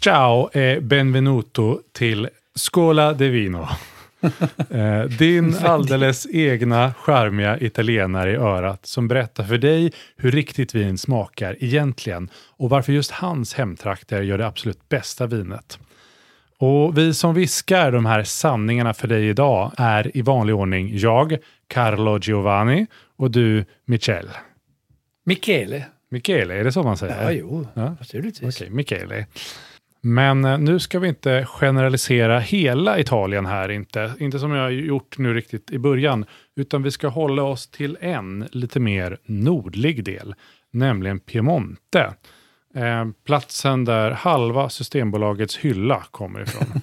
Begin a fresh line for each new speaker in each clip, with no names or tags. Ciao e benvenuto till Scola de Vino. Eh, Din alldeles egna charmiga italienare i örat som berättar för dig hur riktigt vin smakar egentligen och varför just hans hemtrakter gör det absolut bästa vinet. Och vi som viskar de här sanningarna för dig idag är i vanlig ordning jag, Carlo Giovanni och du, Michel.
Michele?
Michele, är det så man säger?
Ja, jo,
Ja.
naturligtvis.
Okej, Michele. Men eh, nu ska vi inte generalisera hela Italien här inte. Inte som jag har gjort nu riktigt i början, utan vi ska hålla oss till en lite mer nordlig del, nämligen Piemonte. Eh, platsen där halva Systembolagets hylla kommer ifrån.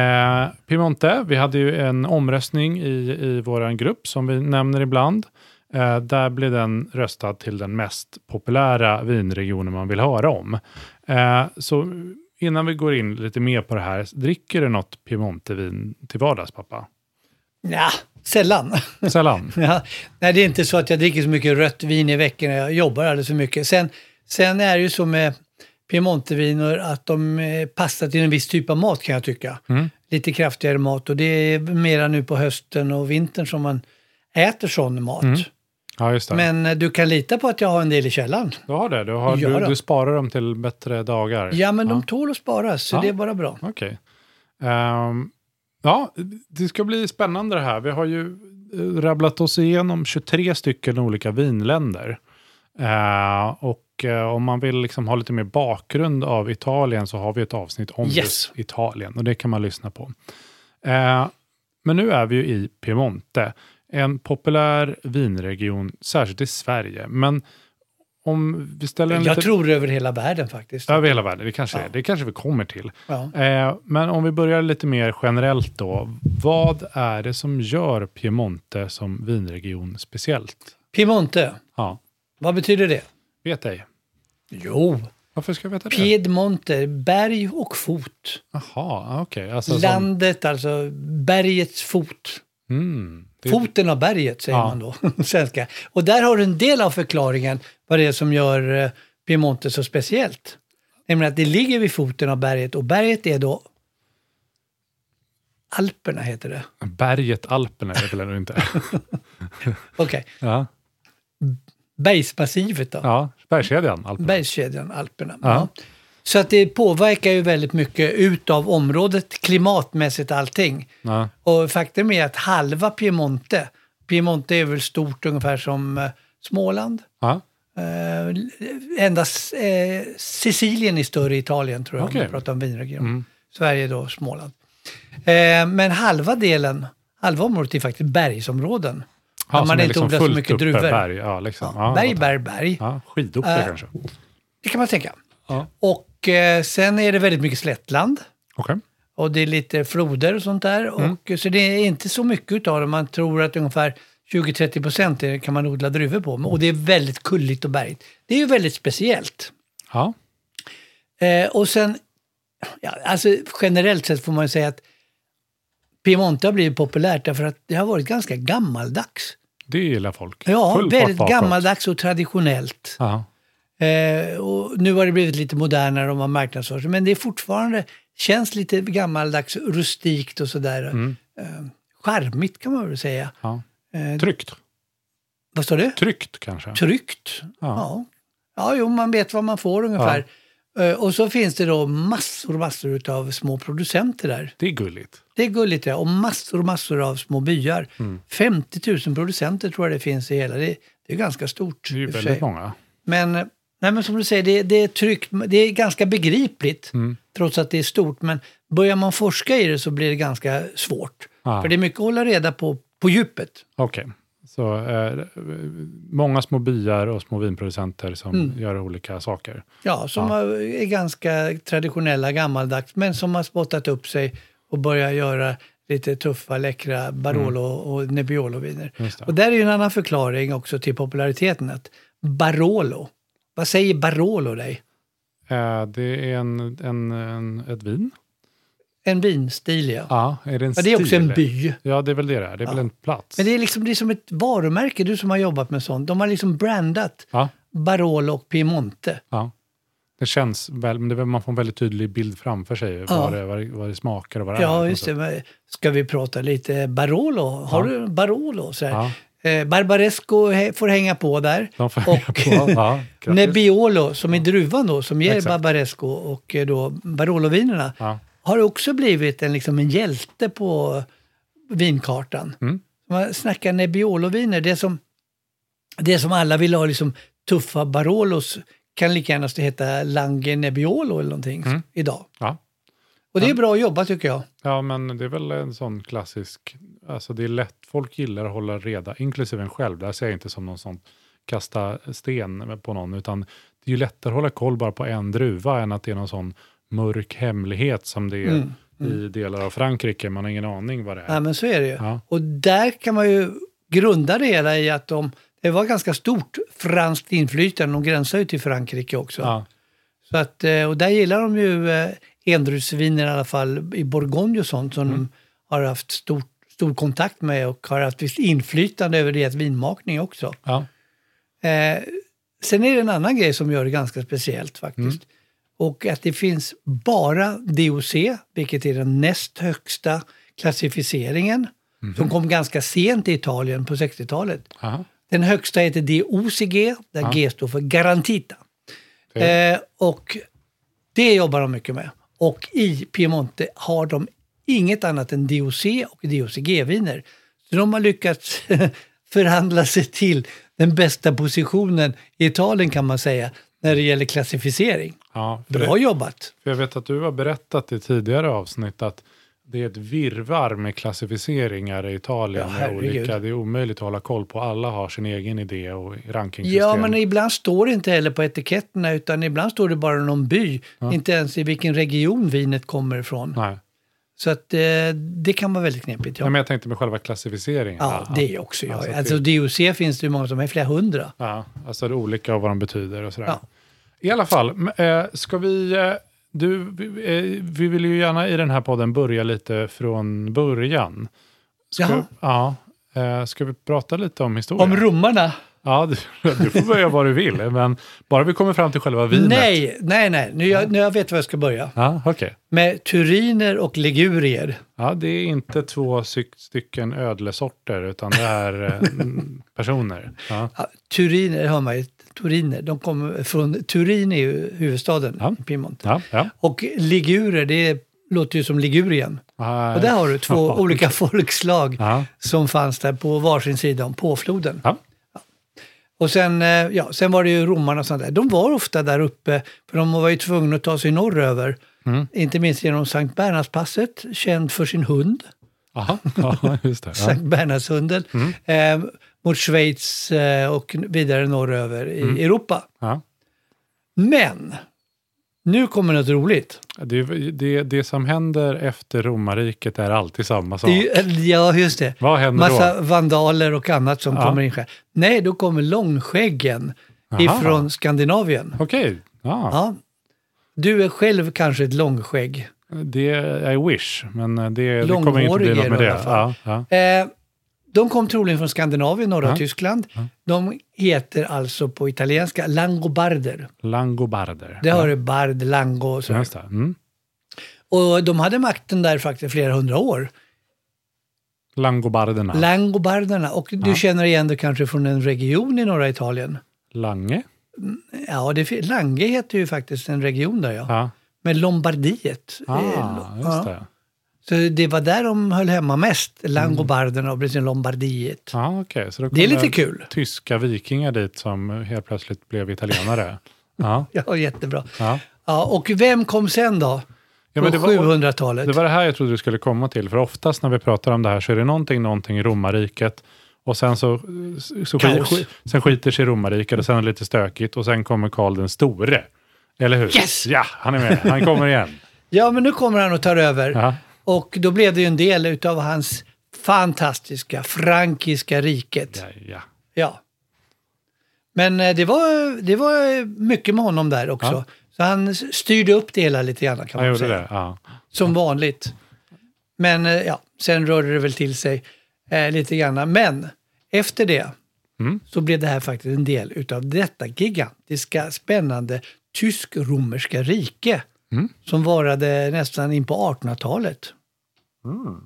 eh, Piemonte, vi hade ju en omröstning i, i vår grupp som vi nämner ibland. Eh, där blev den röstad till den mest populära vinregionen man vill höra om. Eh, så innan vi går in lite mer på det här, dricker du något Piemontevin till vardags pappa?
Nja, sällan.
Sällan?
Ja, nej, det är inte så att jag dricker så mycket rött vin i veckorna. Jag jobbar alldeles för mycket. Sen, sen är det ju så med piemonteviner att de eh, passar till en viss typ av mat kan jag tycka.
Mm.
Lite kraftigare mat och det är mera nu på hösten och vintern som man äter sån mat.
Mm. Ja, just det.
Men eh, du kan lita på att jag har en del i källaren.
du har det? Du, har,
Ja,
du,
då.
du sparar dem till bättre dagar?
Ja, men de tål att sparas, så
Ja.
det är bara bra.
Okej. Ehm, ja, det ska bli spännande det här. Vi har ju eh, rabblat oss igenom 23 stycken olika vinländer. Eh, och eh, om man vill liksom ha lite mer bakgrund av Italien så har vi ett avsnitt om
Yes.
just Italien och det kan man lyssna på. Eh, men nu är vi ju i Piemonte, en populär vinregion, särskilt i Sverige. Men om vi ställer en
Jag
lite...
tror över hela världen faktiskt.
Över hela världen, det kanske, är. det kanske vi kommer till.
Ja.
Eh, men om vi börjar lite mer generellt då. Vad är det som gör Piemonte som vinregion speciellt?
Piemonte,
Ja,
vad betyder det?
vet ej.
Jo,
Varför ska jag veta det?
Piedmonte, berg och fot.
Jaha, okej. Alltså som,
Landet, alltså bergets fot.
mm, det,
Foten av berget säger
Ja.
man då, svenska. Och där har du en del av förklaringen vad det är som gör eh, Piemonte så speciellt. Nämligen att det ligger vid foten av berget och berget är då Alperna heter det.
berget Alperna är det väl ändå inte?
Okej,
ja,
bergsmassivet då.
ja, bergskedjan Alperna.
Bergskedjan, Alperna.
Ja.
Ja. Så att det påverkar ju väldigt mycket utav området, klimatmässigt allting.
ja.
Och faktum är att halva Piemonte, Piemonte är väl stort ungefär som eh, Småland.
ja.
Eh, endast eh, Sicilien är större i Italien tror jag, om
Okej. Mm.
vi pratar om vinregion. Sverige då Småland. Eh, men halva delen, halva området är faktiskt bergsområden.
Ja,
Där
som
man
är liksom
inte odlar så
fullt
mycket
uppe
druvor.
Berg, ja, liksom. ja,
berg,
jag
berg, berg.
fattar. Ja, skidorter
Eh,
kanske. Okej.
Det kan man tänka.
Ja.
Och eh, sen är det väldigt mycket slättland. Och det är lite floder och sånt där.
Mm.
Och, så det är inte så mycket utav det. Man tror att ungefär 20-30 procent är- kan man odla druvor på. Och det är väldigt kulligt och bergigt. Det är ju väldigt speciellt.
Ja.
Eh, och sen, ja, alltså generellt sett får man ju säga att Piemonte har blivit populärt därför att det har varit ganska gammaldags.
Det gillar folk.
Ja,
Full fart
väldigt
bakåt.
gammaldags och traditionellt.
Ja.
Eh, och nu har det blivit lite modernare om man marknadsför sig, men det är fortfarande känns lite gammaldags, rustikt och sådär.
Mm.
Eh, charmigt kan man väl säga.
Ja.
Eh,
Tryggt.
vad står det?
Tryggt kanske.
Tryggt. Ja. ja, jo, man vet vad man får ungefär. Eh, och så finns det då massor, massor av små producenter där.
Det är gulligt.
Det är gulligt det. Och massor, massor av små byar.
Mm.
50 000 producenter tror jag det finns i hela. Det, det är ganska stort.
Det är ju
i och för
väldigt
sig.
många.
Men, eh, nej, men som du säger, det, det är tryggt. Det är ganska begripligt,
Mm.
trots att det är stort. Men börjar man forska i det så blir det ganska svårt.
Ja.
För det är mycket att hålla reda på, på djupet.
Okej. Så eh, många små byar och små vinproducenter som
Mm.
gör olika saker.
Ja, som har- är ganska traditionella, gammaldags, men som har spottat upp sig och börjar göra lite tuffa, läckra Barolo och Nebbiolo-viner.
Mm. Just det.
Och där är ju en annan förklaring också till populariteten, att Barolo, vad säger Barolo dig?
Eh, det är en, en, en, ett vin.
En vinstil, ja.
Ja, är det en
ja det är också en
stil?
by.
Ja, det är väl det det är. Det är väl en plats.
Men det är, liksom, det är som ett varumärke, du som har jobbat med sånt. De har liksom brandat
Ja,
Barolo och Piemonte.
ja. Det känns väl, men det, är väl- man får en väldigt tydlig bild framför sig. Vad, det, vad, det, vad det smakar och vad det är. på
Ja,
något
just det.
sätt.
Men Ska vi prata lite Barolo? Har du Barolo? Så här. Eh, Barbaresco hä- får hänga på där.
De får hänga
och
på. Ja, grattis.
Nebbiolo, som är druvan då, som ger
Exakt.
Barbaresco och eh, då Barolo-vinerna,
Ja.
har också blivit en, liksom en hjälte på vinkartan.
Mm.
Man snackar Nebbiolo-viner, det som, det som alla vill ha, liksom tuffa Barolos, kan lika gärna heta Lange Nebbiolo eller någonting idag.
Mm. Ja.
Och det är bra jobbat tycker jag.
ja, men det är väl en sån klassisk... Alltså det är lätt, folk gillar att hålla reda, inklusive en själv. Det här ser jag inte som någon sån kasta sten på någon, utan det är ju lättare att hålla koll bara på en druva än att det är någon sån mörk hemlighet som det är i delar av Frankrike. Man har ingen aning vad det är.
Ja, Mm, men så är det ju.
Ja.
Och där kan man ju grunda det hela i att de, det var ganska stort franskt inflytande. De gränsar ju till Frankrike också.
Ja,
Så att, eh, och där gillar de ju eh, endruvsviner i alla fall i Bourgogne och sånt
Mm.
som de har haft stor, stor kontakt med och har haft visst inflytande över deras vinmakning också.
ja.
Eh, sen är det en annan grej som gör det ganska speciellt faktiskt. Och att det finns bara DOC, vilket är den näst högsta klassificeringen, som kom ganska sent i Italien på 60-talet.
Aha.
Den högsta heter DOCG, där G står för Garantita.
Det-
Eh, och det jobbar de mycket med. Och i Piemonte har de inget annat än DOC och DOCG-viner. Så de har lyckats förhandla sig till den bästa positionen i Italien kan man säga, när det gäller klassificering.
ja för det-
Bra jobbat!
För jag vet att du har berättat i tidigare avsnitt att det är ett virrvarr med klassificeringar i Italien.
Ja,
med
herregud.
olika. Det är omöjligt att hålla koll på. Alla har sin egen idé och rankingsystem.
Ja, men ibland står det inte heller på etiketterna, utan ibland står det bara någon by. Inte ens i vilken region vinet kommer ifrån.
Nej.
Så att, eh, det kan vara väldigt knepigt. Ja.
Nej, men jag tänkte med själva klassificeringen.
Ja, det är också jag.
Alltså,
Alltså,
det-
DOC finns det ju många som är, flera hundra.
Ja, alltså det är olika och vad de betyder och sådär.
Ja.
I alla fall, m- eh, ska vi... eh, Du, vi- eh, vi vill ju gärna i den här podden börja lite från början. Ska,
Jaha.
ja, eh, ska vi prata lite om historien?
Om romarna?
Ja, du, du får börja vad du vill, men bara vi kommer fram till själva vinet.
Nej, nej, nej. Nu, jag, nu jag vet var jag ska börja.
Ja, okej.
Med turiner och ligurier.
Ja, det är inte två sy- stycken ödlesorter, utan det är eh, mm, personer. Ja.
Ja, turiner, hör man ju, turiner. De kommer från, Turin är ju huvudstaden
Ja.
i Piemonte.
Ja, ja.
Och ligurer, det låter ju som Ligurien. Och där har du två olika folkslag
Ja.
som fanns där på varsin sida om påfloden.
Ja.
Och sen, eh, ja, sen var det ju romarna och sånt där. De var ofta där uppe, för de var ju tvungna att ta sig norröver.
Mm.
Inte minst genom Sankt Bernhardspasset, känd för sin hund,
Aha. Ja, just det. Ja. Mm.
Sankt Bernhardshunden, eh, mot Schweiz eh, och vidare norröver i
Mm.
Europa.
Ja.
Men, nu kommer något roligt.
Det, är- det, det som händer efter romarriket är alltid samma sak.
Det är ju- eller, Ja, just det.
Vad händer
Massa
då?
vandaler och annat som
Ja.
kommer in. själv. Nej, då kommer långskäggen ifrån Skandinavien.
Okej. Ja.
Ja. Du är själv kanske ett långskägg.
Det är I wish, men eh, det, det kommer inte bli
Långhårig
något
är
med
de i
det.
alla fall.
Ja, ja.
Eh, de kom troligen från Skandinavien, norra
Ja.
Tyskland. De heter alltså på italienska langobarder.
Langobarder.
Det har du bard, lango och så.
Just det. Mm.
Och de hade makten där faktiskt flera hundra år.
Langobarderna.
Langobarderna. Och du känner igen det kanske från en region i norra Italien.
Lange.
Ja, det, fin- Lange heter ju faktiskt en region där ja.
Ja.
Men Lombardiet.
Ah,
eh,
just
ja.
det.
Så det var där de höll hemma mest, langobarderna och precis Lombardiet.
Mm. Ja, okej. Så då
Det är
kommer
lite kul.
Tyska vikingar dit som helt plötsligt blev italienare. ja.
Ja, jättebra.
Ja.
Ja, och vem kom sen då?
Ja,
På
men det var-
700-talet.
Det var det här jag trodde du skulle komma till, för oftast när vi pratar om det här så är det någonting, någonting i romarriket och sen så, så sk-
Kaos.
sk- sen skiter sig romarriket och sen är det lite stökigt och sen kommer Karl den store. Eller hur?
Yes!
Ja, han är med. Han kommer igen.
Ja, men nu kommer han och tar över.
Ja.
Och då blev det ju en del utav hans fantastiska frankiska riket.
Ja, ja.
Ja. Men eh, det var, det var mycket med honom där också.
Ja.
Så han s- styrde upp det hela lite grann kan
Han
man
gjorde
säga.
det. Ja.
Som vanligt. Men eh, ja, sen rörde det väl till sig eh, lite grann. Men efter det
Mm.
så blev det här faktiskt en del utav detta gigantiska, spännande tysk-romerska rike.
Mm.
Som varade nästan in på 1800-talet.
Mm.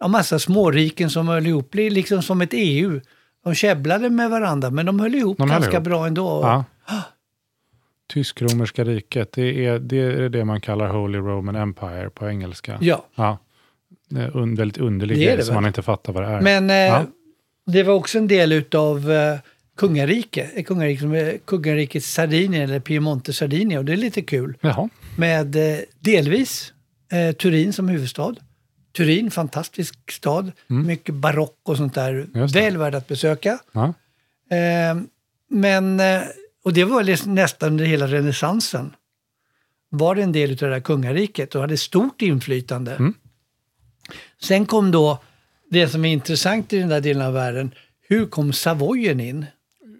Ja, massa småriken som höll ihop, li- liksom som ett EU. De käbblade med varandra, men de höll ihop
De höll
ganska
ihop.
bra ändå.
Ja. Tysk-romerska riket, det är, det är det man kallar Holy Roman Empire på engelska.
Ja.
ja. Det är en väldigt underlig
Det är
grej
det
som
väl.
man inte fattar vad det är.
Men eh,
Ja.
det var också en del utav eh, kungarike, eh, kungarike, som är kungariket Sardinien eller Piemonte Sardinien och det är lite kul
Jaha.
med eh, delvis eh, Turin som huvudstad. Turin, fantastisk stad, mycket barock och sånt där,
Mm. Just det.
väl värd att besöka.
Ja.
Eh, men, eh, och det var liksom nästan under hela renässansen. Var det en del av det där kungariket och hade stort inflytande.
Mm.
Sen kom då det som är intressant i den där delen av världen. Hur kom Savoyen in?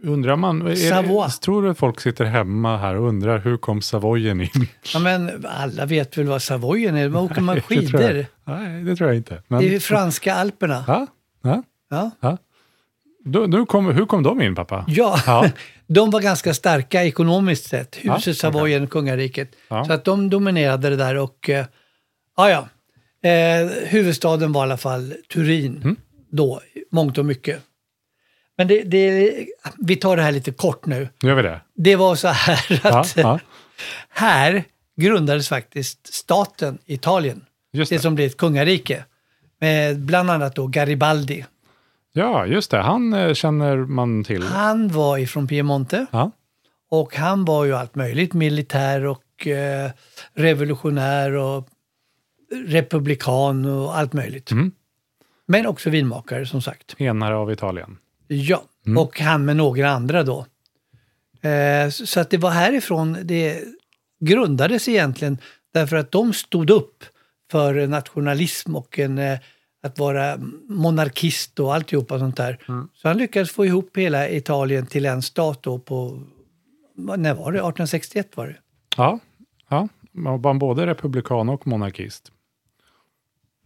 Undrar man, är
Savoy.
det, tror du folk sitter hemma här och undrar hur kom Savoyen in?
Ja, men alla vet väl vad Savoyen är? Var åker man
Det tror jag,
skidor?
nej, det tror jag inte. Men,
I franska alperna.
ja, ja,
Ja.
ja. Du, nu kom, hur kom de in pappa?
Ja,
Ja.
de var ganska starka ekonomiskt sett,
Ja,
huset Savoyen, kungariket.
Ja.
Så att de dominerade det där och, eh, ja ja, eh, huvudstaden var i alla fall Turin
Mm.
då, mångt och mycket. Men det, det, vi tar det här lite kort nu.
Nu gör vi det.
Det var så här
Ja,
att
ja.
här grundades faktiskt staten Italien,
Just
det
det.
som blev ett kungarike. Med bland annat då Garibaldi.
ja, just det. Han eh, känner man till.
Han var ifrån Piemonte.
Ja.
Och han var ju allt möjligt, militär och eh, revolutionär och republikan och allt möjligt. Men också vinmakare som sagt.
Enare av Italien.
Ja,
Mm.
och han med några andra då. Eh, så så att det var härifrån det grundades egentligen därför att de stod upp för nationalism och en, eh, att vara monarkist och alltihopa sånt där.
Mm.
Så han lyckades få ihop hela Italien till en stat då på, vad- när var det? 1861 var det.
Ja, ja. Man var både republikan och monarkist.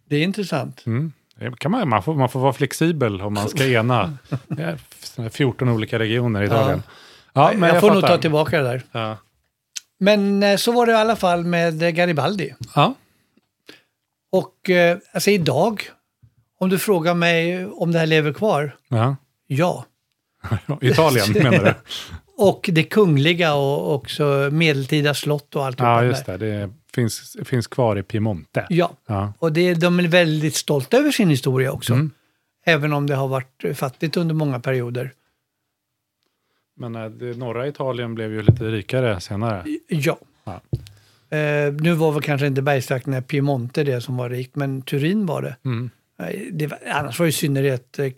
Det är intressant.
Mm. Det Kan man, man, får, man får vara flexibel om man ska ena eh, f- 14 olika regioner i Italien. Ja. men
jag, får nog
fattar.
ta tillbaka det där.
Ja.
Men eh, så var det i alla fall med eh, Garibaldi.
Ja.
Och eh, alltså idag, om du frågar mig om det här lever kvar,
Ja.
ja.
Italien menar du?
Och det kungliga och också medeltida slott och allt
Ja, just det. Det finns, finns kvar i Piemonte.
Ja,
Ja. Mm.
och det, de är väldigt stolta över sin historia också. Även om det har varit fattigt under många perioder.
Men eh, det, norra Italien blev ju lite rikare senare.
Ja.
Ja.
Eh, nu var väl kanske inte bergstrakterna i Piemonte det som var rikt, men Turin var det.
Mm.
Eh, det var, annars var det i synnerhet eh,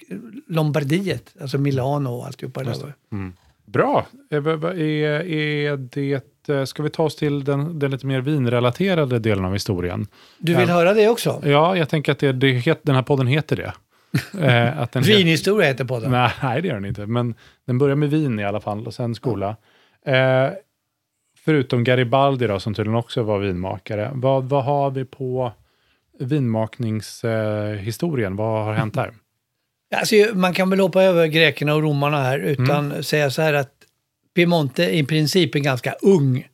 Lombardiet, alltså Milano och alltihopa. Det. var.
Bra! Eh, vad- vad Är, är det, eh, ska vi ta oss till den, den lite mer vinrelaterade delen av historien?
Du vill höra det också?
Ja, jag tänker att det, det, het- den här podden heter det. Eh, att den heter-
Vinhistoria heter podden.
Nej, nej, det gör den inte. Men den börjar med vin i alla fall och sen skola. Eh, förutom Garibaldi då, som tydligen också var vinmakare, vad, vad har vi på vinmakningshistorien? Eh, historien? vad har hänt där?
Alltså, man kan väl hoppa över grekerna och romarna här utan säga så här att Piemonte är i princip en ganska ung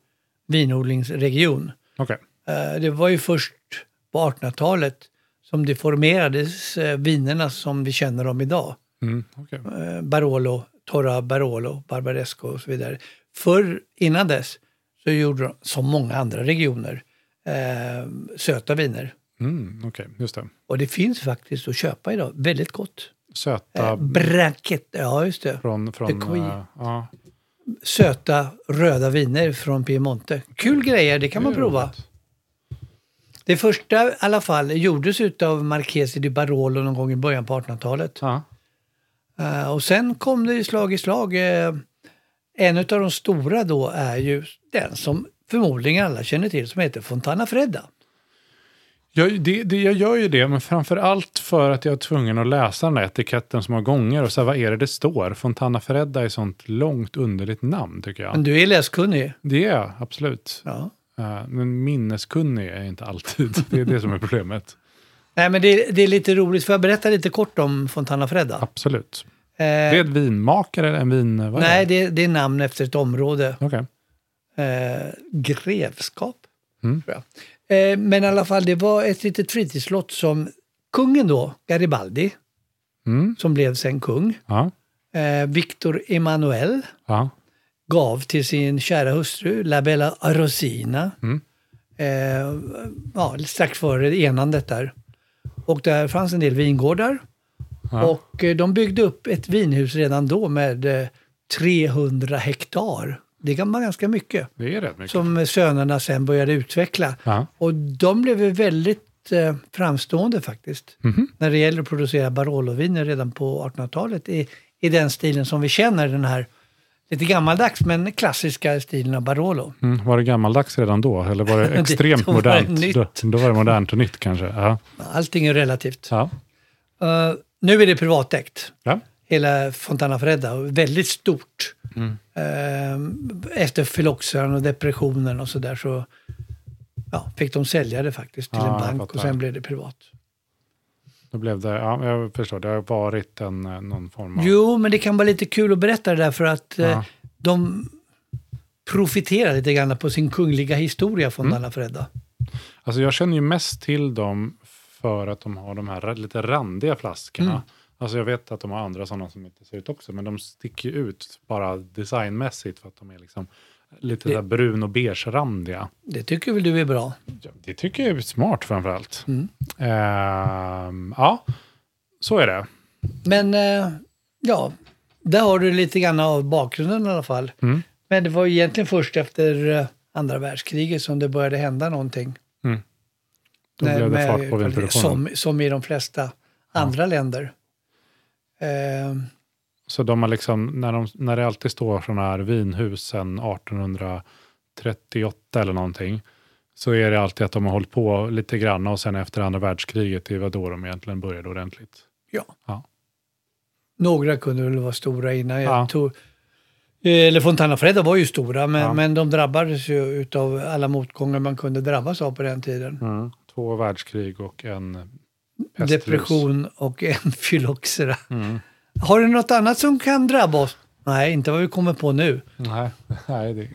vinodlingsregion.
Okej.
Eh, Det var ju först på 1800-talet som det formerades eh, vinerna som vi känner dem idag.
Mm, okej.
Eh, Barolo, Torra Barolo, Barbaresco och så vidare. Förr, innan dess, så gjorde de, som många andra regioner, eh, söta viner.
Mm, okej, just det.
Och det finns faktiskt att köpa idag, väldigt gott.
Söta
Eh, Bracket, ja just det.
från... från
The Queen.
eh, ja.
Söta röda viner från Piemonte. Kul grejer, det kan man
Det är
prova.
roligt.
Det första i alla fall gjordes utav Marchese di Barolo någon gång i början på 1800-talet.
Ja.
Eh, och sen kom det ju slag i slag. Eh, en av de stora då är ju den som förmodligen alla känner till som heter Fontana Fredda.
Jag, det, det, jag gör ju det, men framför allt för att jag är tvungen att läsa den där etiketten så många gånger och säga vad är det det står? Fontana Fredda är sånt långt underligt namn tycker jag.
Men du är läskunnig.
Det är jag, absolut.
Ja.
Eh, Men minneskunnig är jag inte alltid. Det är det som är problemet.
Nej, men det, det är lite roligt. Får jag berätta lite kort om Fontana Fredda?
Absolut.
Eh,
Det är ett vinmakare eller en vin... Vad
nej,
är det?
det, det är namn efter ett område.
Okej.
eh, grevskap.
Mm.
Tror jag. Eh, men i alla fall, det var ett litet fritidslott som kungen då, Garibaldi,
Mm.
som blev sen kung,
Ja.
eh, Victor Emanuel,
ja.
gav till sin kära hustru, La Bella Rosina,
Mm.
eh, ja, strax före enandet där. Och där fanns en del vingårdar.
Ja.
Och eh, de byggde upp ett vinhus redan då med eh, 300 hektar. Det var ganska mycket
Det är rätt mycket.
som sönerna sen började utveckla.
Ja.
Och de blev ju väldigt eh, framstående faktiskt,
Mhm.
när det gäller att producera Baroloviner redan på 1800-talet i, i den stilen som vi känner, den här lite gammaldags men klassiska stilen av Barolo.
Mm. Var det gammaldags redan då? Eller var det
Det-
extremt
då var det
modernt?
nytt.
Då, då var det modernt och nytt kanske. Ja.
Allting är relativt.
Ja.
Eh, nu är det privatägt,
Ja.
hela Fontana Fredda, och väldigt stort.
Mm.
Eh, efter filoxeran och depressionen och sådär så ja, fick de sälja det faktiskt till
Ja, jag
en bank och
fattar.
sen blev det privat.
Då blev det, ja, jag förstår, det har varit en, eh, någon form av...
Jo, men det kan vara lite kul att berätta det där för att eh,
Ja.
de profiterar lite grann på sin kungliga historia från
Mm.
Dalla Fredda.
Alltså jag känner ju mest till dem för att de har de här ra- lite randiga flaskorna. Alltså jag vet att de har andra sådana som inte ser ut också, men de sticker ju ut bara designmässigt för att de är liksom lite
Det-
där brun och beige randiga.
Det tycker väl du är bra?
Ja, det tycker jag är smart framförallt. Mm. Ehm, ja, så är det.
Men eh, ja, där har du lite grann av bakgrunden i alla fall.
Mm.
Men det var ju egentligen först efter eh, andra världskriget som det började hända någonting.
Då
Nej,
blev det
med-
fart på vinproduktionen.
som, som i de flesta andra länder. Eh,
Så de har liksom, när, de, när det alltid står sådana här vinhus sedan 1838 eller någonting, så är det alltid att de har hållit på lite grann och sen efter andra världskriget, det var då de egentligen började ordentligt.
Ja.
Ja.
Några kunde väl vara stora innan. Jag
Ja.
tror, Eh, eller Fontana Fredda var ju stora, men,
Ja.
men de drabbades ju av alla motgångar man kunde drabbas av på den tiden.
Mm, Två världskrig och en pestlus.
Depression och en fyloxera.
Mm.
Har du något annat som kan drabba oss? Nej, inte vad vi kommer på nu.
Nej, nej, det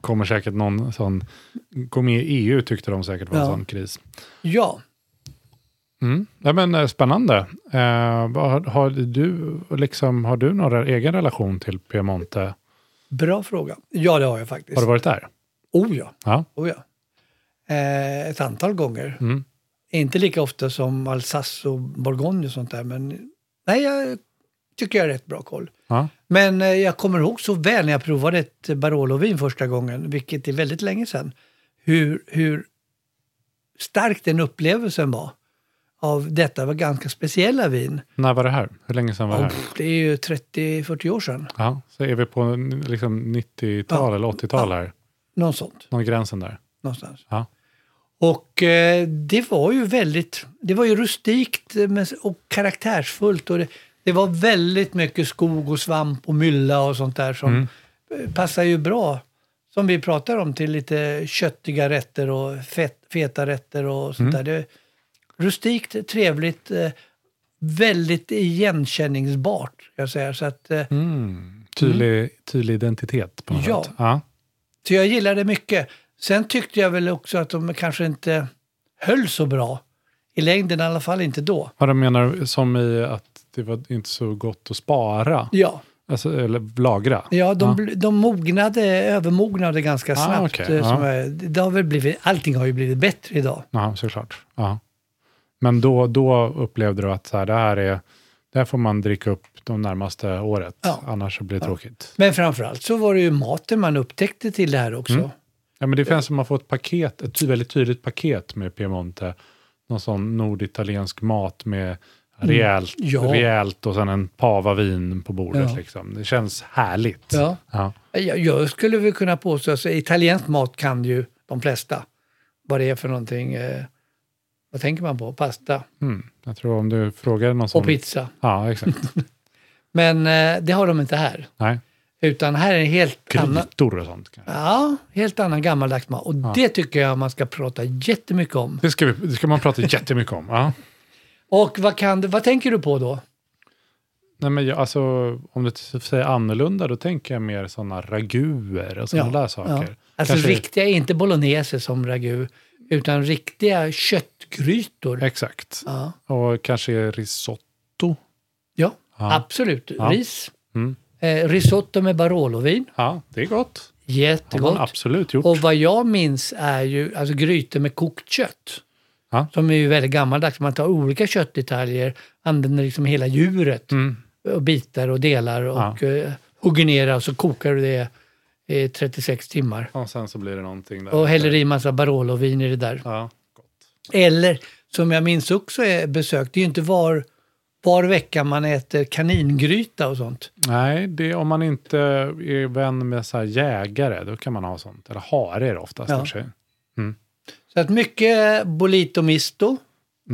kommer säkert någon sån, gå med i EU tyckte de säkert var en
Ja.
sån kris.
Ja,
Mm. Ja, men, eh, spännande. Eh, vad har, har, du, liksom, har du någon egen relation till Piemonte?
bra fråga. Ja, det har jag faktiskt.
Har du varit där?
Oh ja.
Ja.
Oh ja. Eh, ett antal gånger.
Mm.
Inte lika ofta som Alsace och Bourgogne och sånt där, men nej, jag tycker jag har rätt bra koll.
ja.
Men eh, jag kommer ihåg så väl när jag provade ett Barolo-vin första gången, vilket är väldigt länge sedan, hur, hur stark den upplevelsen var av detta var ganska speciella vin.
När var det här? Hur länge sedan var det
Och
här?
det är ju 30-40 år sedan,
Ja, så är vi på en, liksom 90-tal eller 80-tal här.
någon sånt,
Någon gränsen där.
någonstans.
Ja.
Och eh, det var ju väldigt, det var ju rustikt eh, men- och karaktärsfullt och det, det var väldigt mycket skog och svamp och mylla och sånt där som eh, passar ju bra som vi pratar om till lite köttiga rätter och fett, feta rätter och sånt där. Det är rustikt, trevligt, eh, väldigt igenkänningsbart. Jag säger. Så, att, eh,
Tydlig, tydlig identitet på något
Ja.
sätt. Ja.
så jag gillar det mycket. Sen tyckte jag väl också att de kanske inte höll så bra. I längden i alla fall inte då.
Vad de menar som i att det var inte så gott att spara,
Ja,
alltså, eller lagra?
ja, de, bl- de mognade, övermognade ganska
Ah,
snabbt.
okej,
eh, som
ja.
är- det har väl blivit, allting har ju blivit bättre idag.
Ja, såklart. Ja. Men då, då upplevde du att så här, det, här är, det här får man dricka upp de närmaste året,
Ja.
annars så blir det tråkigt.
Men framförallt så var det ju maten man upptäckte till det här
Mm.
också.
Ja, men det känns som att man får ett paket, ett ty- väldigt tydligt paket med Piemonte. Någon sån norditaliensk mat med rejält,
Mm. Ja.
rejält och sen en pava vin på bordet.
Ja.
Liksom. Det känns härligt.
Ja.
Ja.
Jag, jag skulle väl kunna påstå att italiensk mat kan ju de flesta. Vad det är för någonting. Eh, vad tänker man på? Pasta
Mm. Jag tror om du frågar någon som...
och pizza.
Ja, exakt.
Men eh, det har de inte här.
Nej.
Utan här är en helt annan,
Grytor och sånt. kanske.
ja, helt annan gammaldags mat. Och det tycker jag man ska prata jättemycket om.
Det ska, vi, det ska man prata jättemycket om. Ja.
Och vad, kan, du- vad tänker du på då?
Nej, men jag, alltså, om du t- säger annorlunda, då tänker jag mer sådana raguer och sådana där saker.
ja. Alltså
Kanske-
riktiga, inte bolognese som ragu, utan riktiga köttgrytor.
Exakt.
Ja,
Och kanske risotto.
ja
Ja.
absolut.
Ja.
Ris.
Mm.
Eh, risotto med Barolovin.
Ja, det är gott. Det har man
Jättegott.
absolut gjort.
Och vad jag minns är ju alltså, grytor med kokt kött.
Ja.
Som är ju väldigt gammaldags. Man tar olika köttdetaljer, använder liksom hela djuret
Mm.
och bitar och delar och eh, hugger ner det och så kokar du det i 36 timmar.
Och sen så blir det någonting där.
Och häller i massa Barolovin i det där.
Ja.
Eller som jag minns också är besök, det är ju inte var, var vecka man äter kaningryta och sånt.
Nej, det, om man inte är vän med så här jägare, då kan man ha sånt. Eller hare är det oftast. i
Ja.
och för sig.
Så att mycket bolito misto,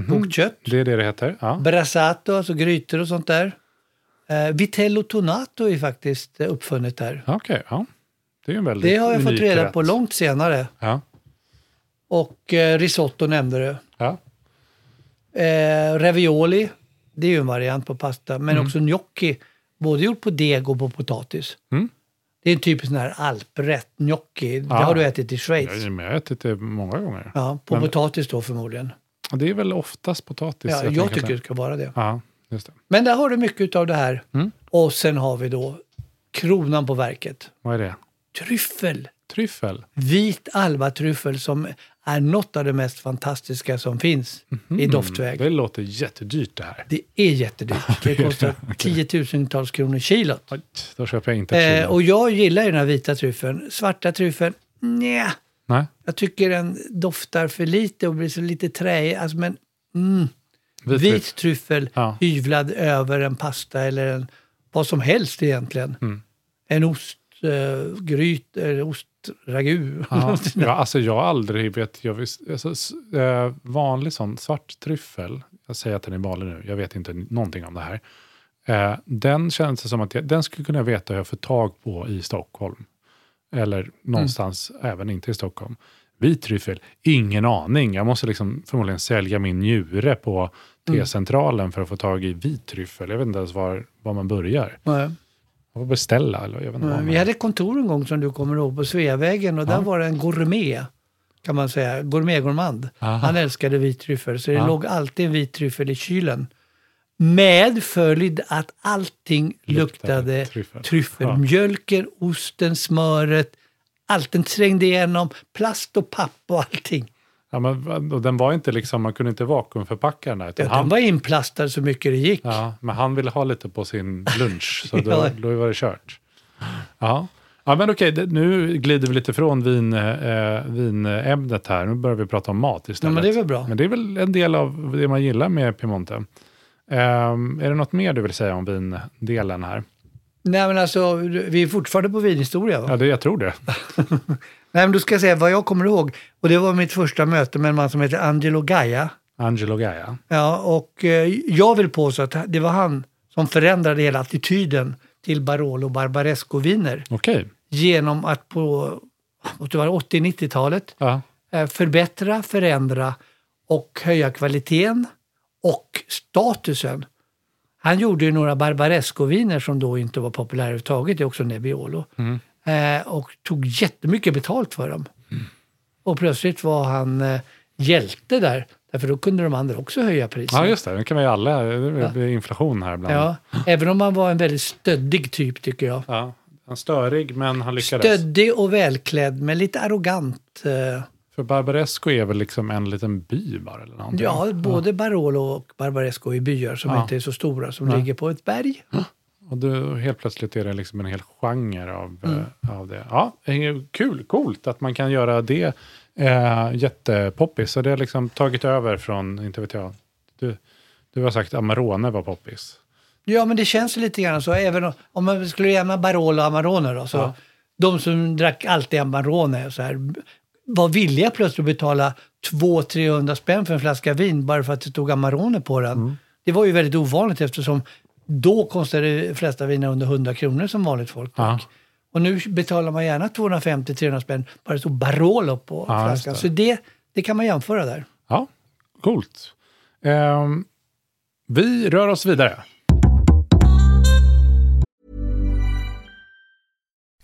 kokt kött,
Det är det det heter. Ja.
brasato, alltså grytor och sånt där. Eh, vitello tonato är faktiskt eh, uppfunnet där.
Ja, Okej, ja. Det är en väldigt
Det har jag fått
unik
reda
rätt.
på långt senare.
Ja.
Och eh, risotto nämnde du.
Ja.
Eh, ravioli, det är ju en variant på pasta, men också gnocchi. Både gjort på deg och på potatis.
Mm.
Det är en typisk sån här alprätt, gnocchi. Det
Ja.
har du ätit i Schweiz.
Jag har ätit det många gånger.
Ja, på
Men-
potatis då förmodligen.
Det är väl oftast potatis.
Ja, jag,
tänker
tycker
att det-
det ska vara det.
Ja, just det.
Men där har du mycket av det här.
Mm.
Och sen har vi då kronan på verket.
Vad är det?
Tryffel!
Tryffel?
Vit albatryffel som är något av det mest fantastiska som finns i doftväg.
Mhm. Det låter jättedyrt det här.
Det är jättedyrt. Det kostar tiotusentals kronor kilot.
Oj, Då köper jag inte ett
Eh,
kilo.
och jag gillar ju den här vita tryffeln. Svarta tryffeln, nja.
Nej,
Jag tycker den doftar för lite och blir så lite träig. Alltså, men
vit,
vit,
vit.
tryffel
Ja.
hyvlad över en pasta eller en, vad som helst egentligen.
Mm.
En ostgryt, eh, ostragu.
Ja, ja, alltså jag har aldrig vet, jag visst, alltså, s- eh, vanlig sån svart tryffel, jag säger att den är vanlig nu, jag vet inte någonting om det här. Eh, den känns det som att jag, den skulle kunna veta hur jag får tag på i Stockholm. Eller någonstans, även inte i Stockholm. Vit tryffel, ingen aning. Jag måste liksom förmodligen sälja min njure på T-centralen för att få tag i vit tryffel. Jag vet inte ens var, var man börjar.
Nej.
Man får beställa eller jag vet inte vad
Men
man-
Vi hade ett kontor en gång som du kommer ihåg på Sveavägen och där var det en gourmet kan man säga, gourmetgourmand.
Aha.
Han älskade vit tryffel så det
Ja.
låg alltid en vit tryffel i kylen. Med följd att allting
Luktade
luktade
tryffel.
tryffel. Mjölken, osten, smöret, allt den trängde igenom, plast och papp och allting.
Ja, men, och den var inte liksom, man kunde inte vakuumförpacka den där. Utan
Ja,
han,
Den var inplastad så mycket det gick.
ja, men han ville ha lite på sin lunch, så då,
Ja.
då var det kört. Ja, ja men okej, det, nu glider vi lite från vin, eh, vinämnet här. Nu börjar vi prata om mat istället.
Ja, men det är väl bra.
Men det är väl en del av det man gillar med Piemonte. Ehm, är det något mer du vill säga om vindelen här?
Nej men alltså, vi är fortfarande på vinhistoria va?
Ja, det, jag tror det.
Nej men du ska jag säga vad jag kommer ihåg. Och det var mitt första möte med en man som heter Angelo Gaia.
Angelo Gaia.
Ja, och eh, jag vill påstå att det var han som förändrade hela attityden till Barolo Barbaresco-viner
Okej,
genom att på måste det vara 80-90-talet.
Ja.
Eh, Förbättra, förändra och höja kvaliteten och statusen. Han gjorde ju några Barbaresco-viner som då inte var populära överhuvudtaget, det är också Nebbiolo. Eh, och tog jättemycket betalt för dem. Och plötsligt var han eh, hjälte där, därför då kunde de andra också höja priset.
ja, just det. Det kan vi alla. Det blir inflation här ibland.
Ja, även om han var en väldigt stöddig typ tycker jag.
Ja. Han är störig, men han lyckades. Mm.
Stöddig och välklädd, men lite arrogant. eh.
För Barbaresco är väl liksom en liten by bara? Eller någonting.
Ja, både Barolo och Barbaresco är byar som
Ja.
inte är så stora, som ligger på ett berg.
Och då, helt plötsligt är det liksom en hel genre av, eh, av det. Ja, det är kul, coolt att man kan göra det eh, jättepoppis. Så det har liksom tagit över från, inte vet jag, du, du har sagt Amarone var poppis.
Ja, men det känns lite grann så. Även om- om man skulle jämna Barolo och Amarone då, så
Ja.
de som drack alltid Amarone och så här, var villiga plötsligt att betala 200-300 spänn för en flaska vin bara för att det stod Amarone på den.
Mm.
Det var ju väldigt ovanligt eftersom då kostade de flesta viner under 100 kronor som vanligt folk drack. Och nu betalar man gärna 250-300 spänn bara det stod Barolo på
Ja, just
flaskan.
det.
Så det, det kan man jämföra där.
Ja, coolt. Ehm, vi rör oss vidare.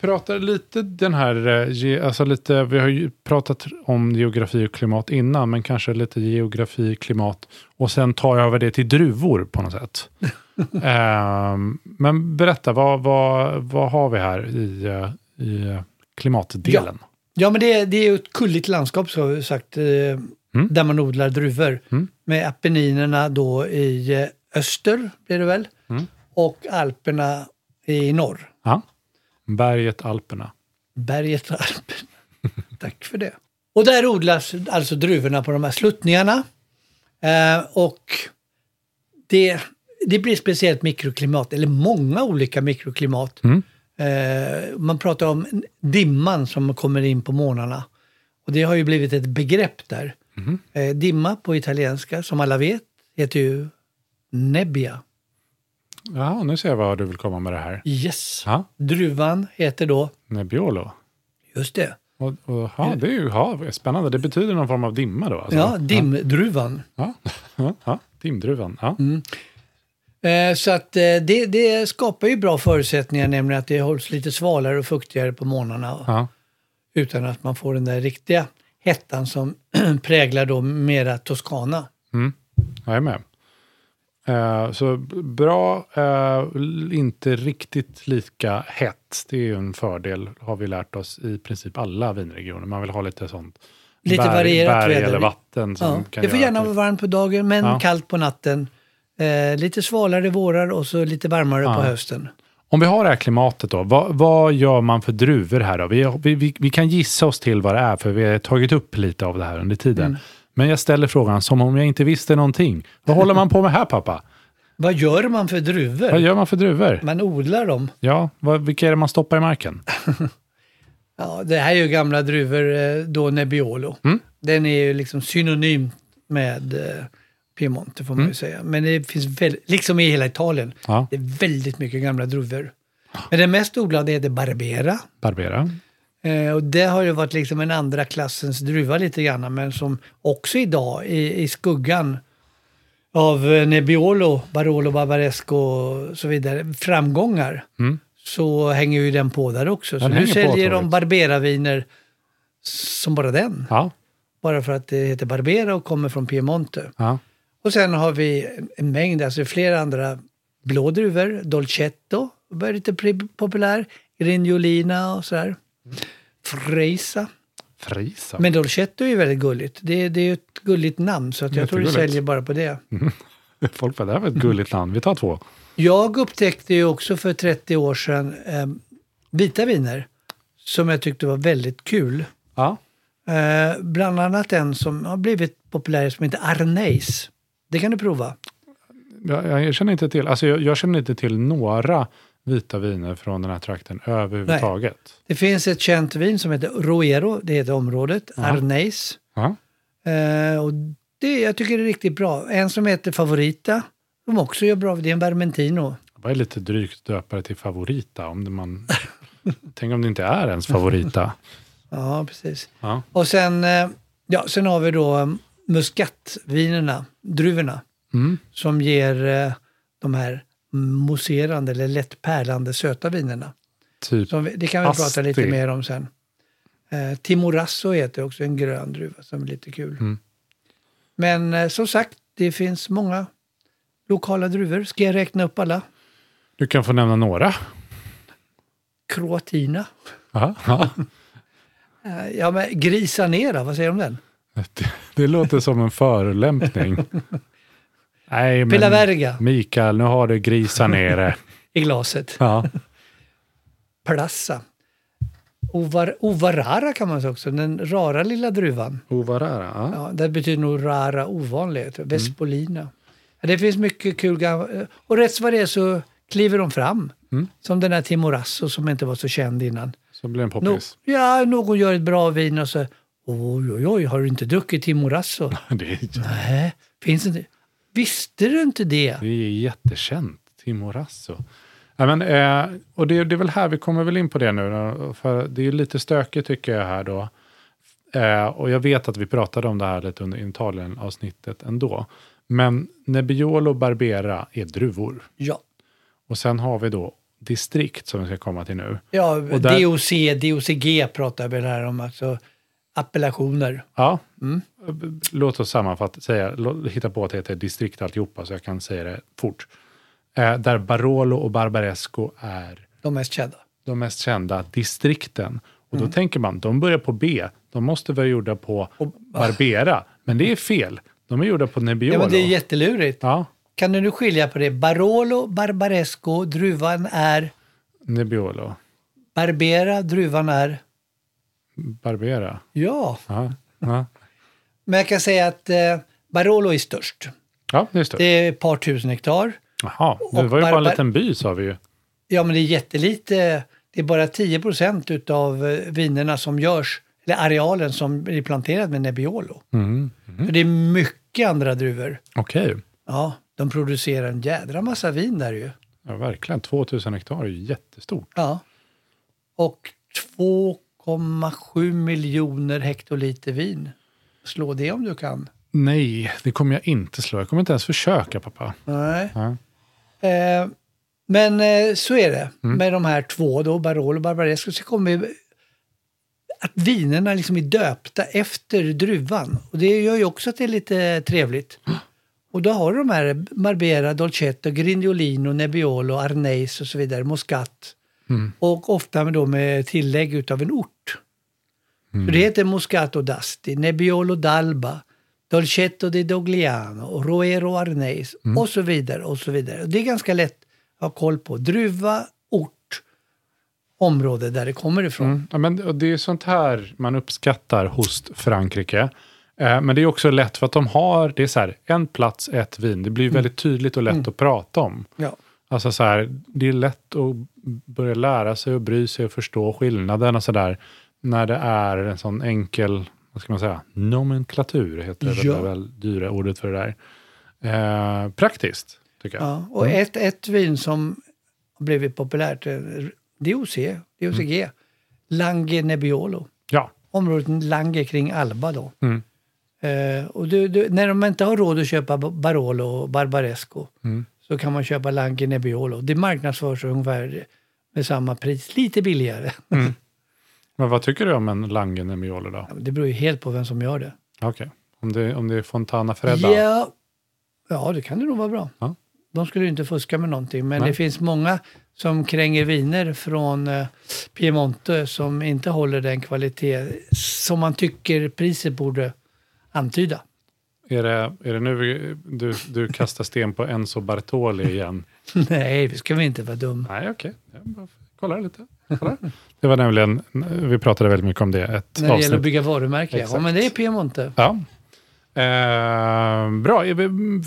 prata lite den här, eh, ge, alltså lite, vi har ju pratat om geografi och klimat innan, men kanske lite geografi, klimat och sen tar jag över det till druvor på något sätt. Ehm, men berätta, vad, vad, vad har vi här i, eh, i eh, klimatdelen?
Ja, men det, det är ju ett kulligt landskap så har vi sagt, eh,
Mm.
där man odlar druvor. Med Apenninerna då i eh, öster, blir det väl,
Mm.
och Alperna i norr.
Ja. Berget Alperna.
Berget och Alperna. Tack för det. Och där odlas alltså druvorna på de här sluttningarna. Eh, och det, det blir speciellt mikroklimat, eller många olika mikroklimat. Eh, man pratar om dimman som kommer in på månaderna. Och det har ju blivit ett begrepp där. Eh, dimma på italienska, som alla vet, heter ju nebbia.
Ja, nu ser jag vad du vill komma med det här.
Yes.
Ja,
Druvan heter då,
Nebbiolo.
just det,
Och, och, ja, det är ju ja, spännande. Det betyder någon form av dimma då? Alltså.
ja, dimdruvan.
Ja, ja, ja. dimdruvan. Ja.
Mm. Eh, Så att eh, det, det skapar ju bra förutsättningar, nämligen att det hålls lite svalare och fuktigare på morgnarna
Ja.
utan att man får den där riktiga hettan som präglar då mera Toscana.
Jag är med. Eh, så b- bra, eh, l- inte riktigt lika hett. Det är ju en fördel, har vi lärt oss i princip alla vinregioner. Man vill ha lite sånt.
Lite varierat
berg
väder.
eller vatten. Som
Ja.
kan
Det får
göra
gärna
att-
vara varmt på dagen men
Ja.
kallt på natten. Eh, lite svalare vårar och så lite varmare på
Ja.
hösten.
Om vi har det här klimatet då, vad, vad gör man för druvor här då? Vi, vi, vi, vi kan gissa oss till vad det är, för vi har tagit upp lite av det här under tiden.
Mm.
Men jag ställer frågan som om jag inte visste någonting. Vad håller man på med här pappa?
Vad gör man för druvor?
Vad gör man för druvor?
Man odlar dem.
Ja, vad, vilka är det man stoppar i marken?
Ja, det här är ju gamla druvor, eh, då Nebbiolo. Den är ju liksom synonym med eh, Piemonte får man ju säga. Men det finns väldigt, liksom i hela Italien,
Ja.
det är väldigt mycket gamla druvor. Men den mest odlade heter Barbera.
Barbera.
Eh, och det har ju varit liksom en andra klassens druva lite grann, men som också idag i, i skuggan av eh, Nebbiolo, Barolo, Barbaresco och så vidare, framgångar, så hänger ju den på där också. Så
Mm. Den
nu
hänger på,
säljer de
otroligt.
Barbera-viner som bara den.
Ja,
Bara för att det heter Barbera och kommer från Piemonte.
ja.
Och sen har vi en mängd, alltså flera andra blå druvor, Dolcetto, börjar lite pri- populär, Grignolina och sådär. Freisa.
Frisa.
Men Dolcetto är ju väldigt gulligt. Det, det är ju ett gulligt namn så att jag tror du
Jättegulligt.
säljer bara på det.
Folk bara, det här var ett gulligt namn. Vi tar två.
Jag upptäckte ju också för 30 år sedan eh, vita viner som jag tyckte var väldigt kul.
Ja.
Eh, bland annat en som har blivit populär som heter Arneis. Det kan du prova.
Jag, jag känner inte till, alltså jag, jag känner inte till några vita viner från den här trakten överhuvudtaget.
Det finns ett känt vin som heter Roero, det heter området, Arneis.
Ja.
Eh, och det, jag tycker det är riktigt bra. En som heter Favorita, som också gör bra, det är en Vermentino.
Det var ju lite drygt döpare till favorita. Om det man, tänk om det inte är ens favorita.
Ja, precis.
Ja.
Och sen, eh, ja, sen har vi då eh, muskatvinerna, druvorna, som ger eh, de här mousserande eller lätt pärlande söta vinerna.
Typ
Som vi, det kan vi prata
Asti.
lite mer om sen. Eh, Timorasso heter också en grön druva som är lite kul.
Mm.
Men eh, som sagt, det finns många lokala druvor. Ska jag räkna upp alla?
Du kan få nämna några.
Kroatina.
Ja, ja.
Eh, ja, men Grisanera, vad säger du om den?
Det, det låter som en förolämpning. Nej, men
Pilla Verga
Mikael, nu har du grisar nere.
i glaset.
Ja.
Plassa. Ovar, ovarara kan man säga också, den rara lilla druvan.
Ovarara, ja.
Ja, det betyder nog rara ovanlighet, Vespolina. Ja, det finns mycket kul gam- Och rätt vad det är så kliver de fram. Som den här Timorasso som inte var så känd innan.
Så blir det en
No,
poppis.
ja, någon gör ett bra vin och så oj, oj, oj, har du inte druckit Timorasso?
Det, är,
Nej, finns inte. Visste du inte det?
det är jättekänt, Timorasso. Ja, men, eh, och det, det är väl här vi kommer väl in på det nu, då, för det är lite stökigt tycker jag här då. Eh, och jag vet att vi pratade om det här lite under Italien-avsnittet ändå. Men Nebbiolo Barbera är druvor.
Ja.
Och sen har vi då distrikt som vi ska komma till nu.
Ja,
där-
DOC, DOCG pratar vi här om, alltså appellationer.
Ja,
Mm.
B- låt oss sammanfatta, säga, lå- hitta på att det heter distrikt alltihopa så jag kan säga det fort. Eh, där Barolo och Barbaresco är
De mest kända.
de mest kända distrikten. Och
Mm.
då tänker man, de börjar på B, de måste vara gjorda på Barbera. Men det är fel, de är gjorda på Nebbiolo.
Ja, men det är jättelurigt.
Ja,
Kan du nu skilja på det? Barolo, Barbaresco, druvan är
Nebbiolo,
Barbera, druvan är...
Barbera.
Ja.
Ja, ja.
Men jag kan säga att eh, Barolo är störst.
ja det är stort.
Det är ett par tusen hektar.
Jaha, det
och
var ju bara en
Barbar-
liten by sa vi ju.
Ja, men det är jättelite. Det är bara 10 procent utav eh, vinerna som görs, eller arealen som blir planterad med Nebbiolo. För det är mycket andra druvor.
Okej,
Ja, de producerar en jädra massa vin där ju.
ja, verkligen. 2000 hektar är ju jättestort.
Ja. Och 2,7 miljoner hektoliter vin. Slå det om du kan.
Nej, det kommer jag inte slå. Jag kommer inte ens försöka, pappa.
Nej.
Ja.
Eh, men eh, så är det med de här två då, Barolo och Barbaresco. Så kommer vi, att vinerna liksom är döpta efter druvan. Och det gör ju också att det är lite trevligt. Och då har du de här Marbera, Dolcetto, Grignolino, Nebbiolo, Arneis och så vidare, Moscat. Och ofta med, då med tillägg utav en ort. Så det heter Moscato d'Asti, Nebbiolo d'Alba, Dolcetto di Dogliano, Roero Arneis och så vidare. och så vidare. Det är ganska lätt att ha koll på. Druva, ort, område där det kommer ifrån.
Ja, men, och det är sånt här man uppskattar hos Frankrike. Eh, men det är också lätt för att de har, det är så här, en plats, ett vin. Det blir
Mm.
ju väldigt tydligt och lätt att prata om.
Ja.
Alltså så här, det är lätt att börja lära sig och bry sig och förstå skillnaden och så där. När det är en sån enkel, vad ska man säga, nomenklatur heter det
Ja.
där väl dyra ordet för det där. Eh, praktiskt, tycker jag.
Ja, och ett, ett vin som har blivit populärt, eh, DOC, DOCG, Lange Nebbiolo.
ja. Mm.
Området Lange kring Alba då. Eh, och du, du, när de inte har råd att köpa Ba- Barolo och Barbaresco
Mm.
så kan man köpa Lange Nebbiolo. Det marknadsförs ungefär med samma pris, lite billigare.
Men vad tycker du om en Langen Nebbiolo då?
Det beror ju helt på vem som gör det.
Okej, om, det, om det är Fontana Fredda?
Ja, ja, det kan det nog vara bra.
Ja.
De skulle ju inte fuska med någonting, men
Nej.
det finns många som kränger viner från eh, Piemonte som inte håller den kvalitet som man tycker priset borde antyda.
Är, det, är det nu vi- du, du kastar sten på Enzo Bartoli igen?
Nej, vi ska väl inte vara dum.
Nej, okej. Jag bara kollar lite. Kollar. Det var nämligen, vi pratade väldigt mycket om det, ett
När det gäller att
avsnitt.
bygga varumärke. Ja,
Exakt.
men det är Piemonte.
Ja. Eh, bra, Eh,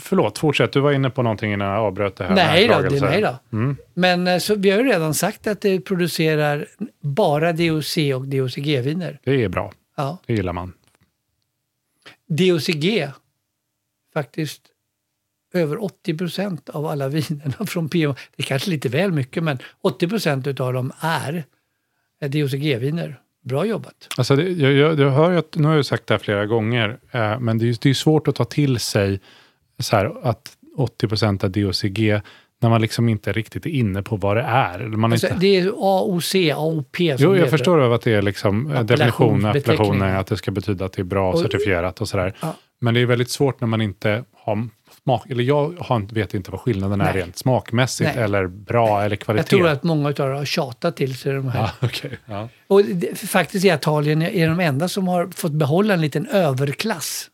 förlåt, fortsätt. Du var inne på någonting innan jag avbröt det här.
Nej då, det är
anklagelsen.
nej då.
Mm.
Men eh, så, vi har ju redan sagt att det producerar bara DOC och DOCG-viner.
Det är bra,
Ja.
det gillar man.
DOCG, faktiskt över 80 procent av alla vinerna från PM, det är kanske lite väl mycket, men 80 procent av dem är eh, DOCG-viner. Bra jobbat.
Alltså det, jag, jag, jag hör ju att, nu har jag ju sagt det här flera gånger, eh, men det är ju det är ju svårt att ta till sig så här, att 80 av DOCG, när man liksom inte riktigt är inne på vad det är. Eller Man är
Alltså,
inte,
det är AOC, AOP som
jo,
det
jag
heter.
förstår av att det är liksom eh, definition,
Appellationsbeteckning.
appellationen, att det ska betyda att det är bra
Och-
certifierat och sådär.
Ja.
Men det är väldigt svårt när man inte har smak, eller jag har, inte- vet inte vad skillnaden är
Nej.
rent smakmässigt
Nej.
eller bra eller kvalitet.
Jag tror att många av dem har tjatat till sig de här.
Ja, okej. ja.
Och det, faktiskt är Italien är de enda som har fått behålla en liten överklass.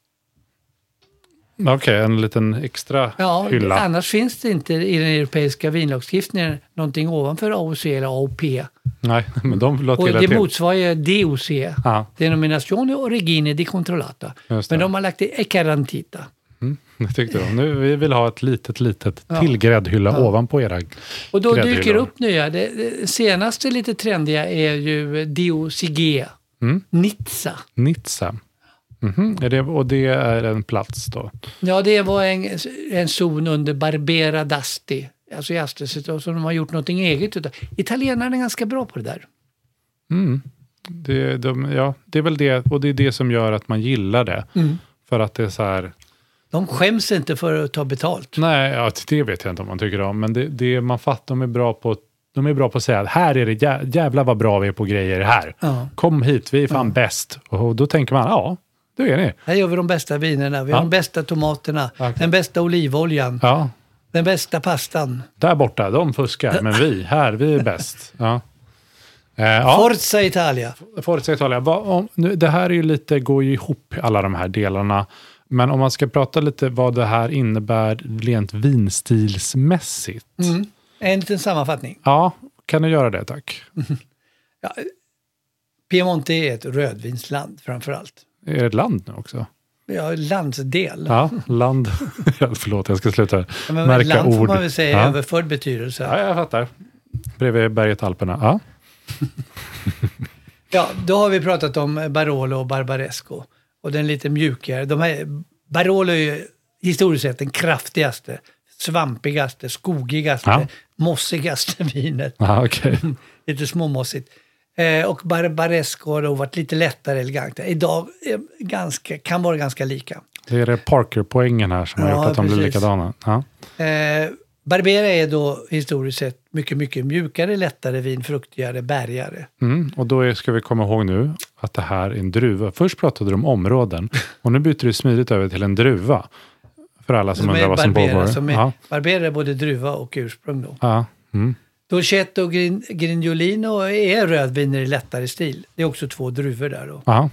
Okej, en liten extra
Ja,
hylla.
Annars finns det inte i den europeiska vinlagstiftningen någonting ovanför AOC eller AOP.
Nej, men de la
Och
till
det
till.
motsvarar ju DOC.
Ja.
Denominazione origine di controllata.
Just det.
Men de har lagt det e carantita.
Det tyckte de. Nu, vi vill ha ett litet, litet till gräddhylla ovanpå era
Och då
gräddhyllor.
dyker det upp nya. Det, det senaste lite trendiga är ju DOCG.
Mm.
Nizza.
Nizza. Mhm, Är det, och det är en plats då?
Ja, det var en, en zon under Barbera d'Asti. Alltså i Asterset, och som de har gjort någonting eget utav. Italienarna är ganska bra på det där.
Det, de, ja, det är väl det, och det är det som gör att man gillar det.
Mm.
För att det är så här,
De skäms inte för att ta betalt.
nej, ja, det vet jag inte om man tycker om, men det, det man fattar, de är bra på de är bra på att säga att här är det jä- jävla vad bra vi är på grejer här.
Ja.
Kom hit, vi är fan bäst. Och då tänker man, ja, det är ni.
Här gör vi de bästa vinerna, vi har
Ja.
de bästa tomaterna, den bästa olivoljan,
Ja,
den bästa pastan.
Där borta, de fuskar, men vi här, vi är bäst. Ja. Eh, ja,
Forza Italia.
Forza Italia. Vad om, nu, det här är ju lite, går ju ihop alla de här delarna. Men om man ska prata lite vad det här innebär rent vinstilsmässigt.
Mm. En liten sammanfattning.
Ja, kan du göra det tack?
Piemonte är ett rödvinsland framför allt.
Är det ett land nu också?
Ja, landsdel.
Ja, land. Ja, Förlåt, jag ska sluta
Ja, men
märka
land
ord.
får man väl säga i
ja.
överförd betydelse.
ja, jag fattar. Bredvid berget Alperna. Ja.
Ja, då har vi pratat om Barolo och Barbaresco. Och den lite mjukare. De här, Barolo är ju historiskt sett den kraftigaste, svampigaste, skogigaste,
Ja.
mossigaste vinet.
Ja, okej.
Lite småmossigt. Eh, och Barbaresco har då varit lite lättare elegant. Idag eh, ganska, kan vara ganska lika.
Det är det Parker-poängen här som har
Ja,
gjort att de blir
precis.
likadana. Ja.
Eh, Barbera är då historiskt sett mycket, mycket mjukare, lättare vin, fruktigare, bärgare.
Mm, och då är, ska vi komma ihåg nu att det här är en druva. Först pratade du om områden och nu byter du smidigt över till en druva. För alla som,
Som
undrar
är
vad som pågår.
Barbera, som är,
Ja,
Barbera är både druva och ursprung då.
ja, mm.
Dolcetto och Grin, Grignolino är rödviner i lättare stil. Det är också två druvor där då.
ja,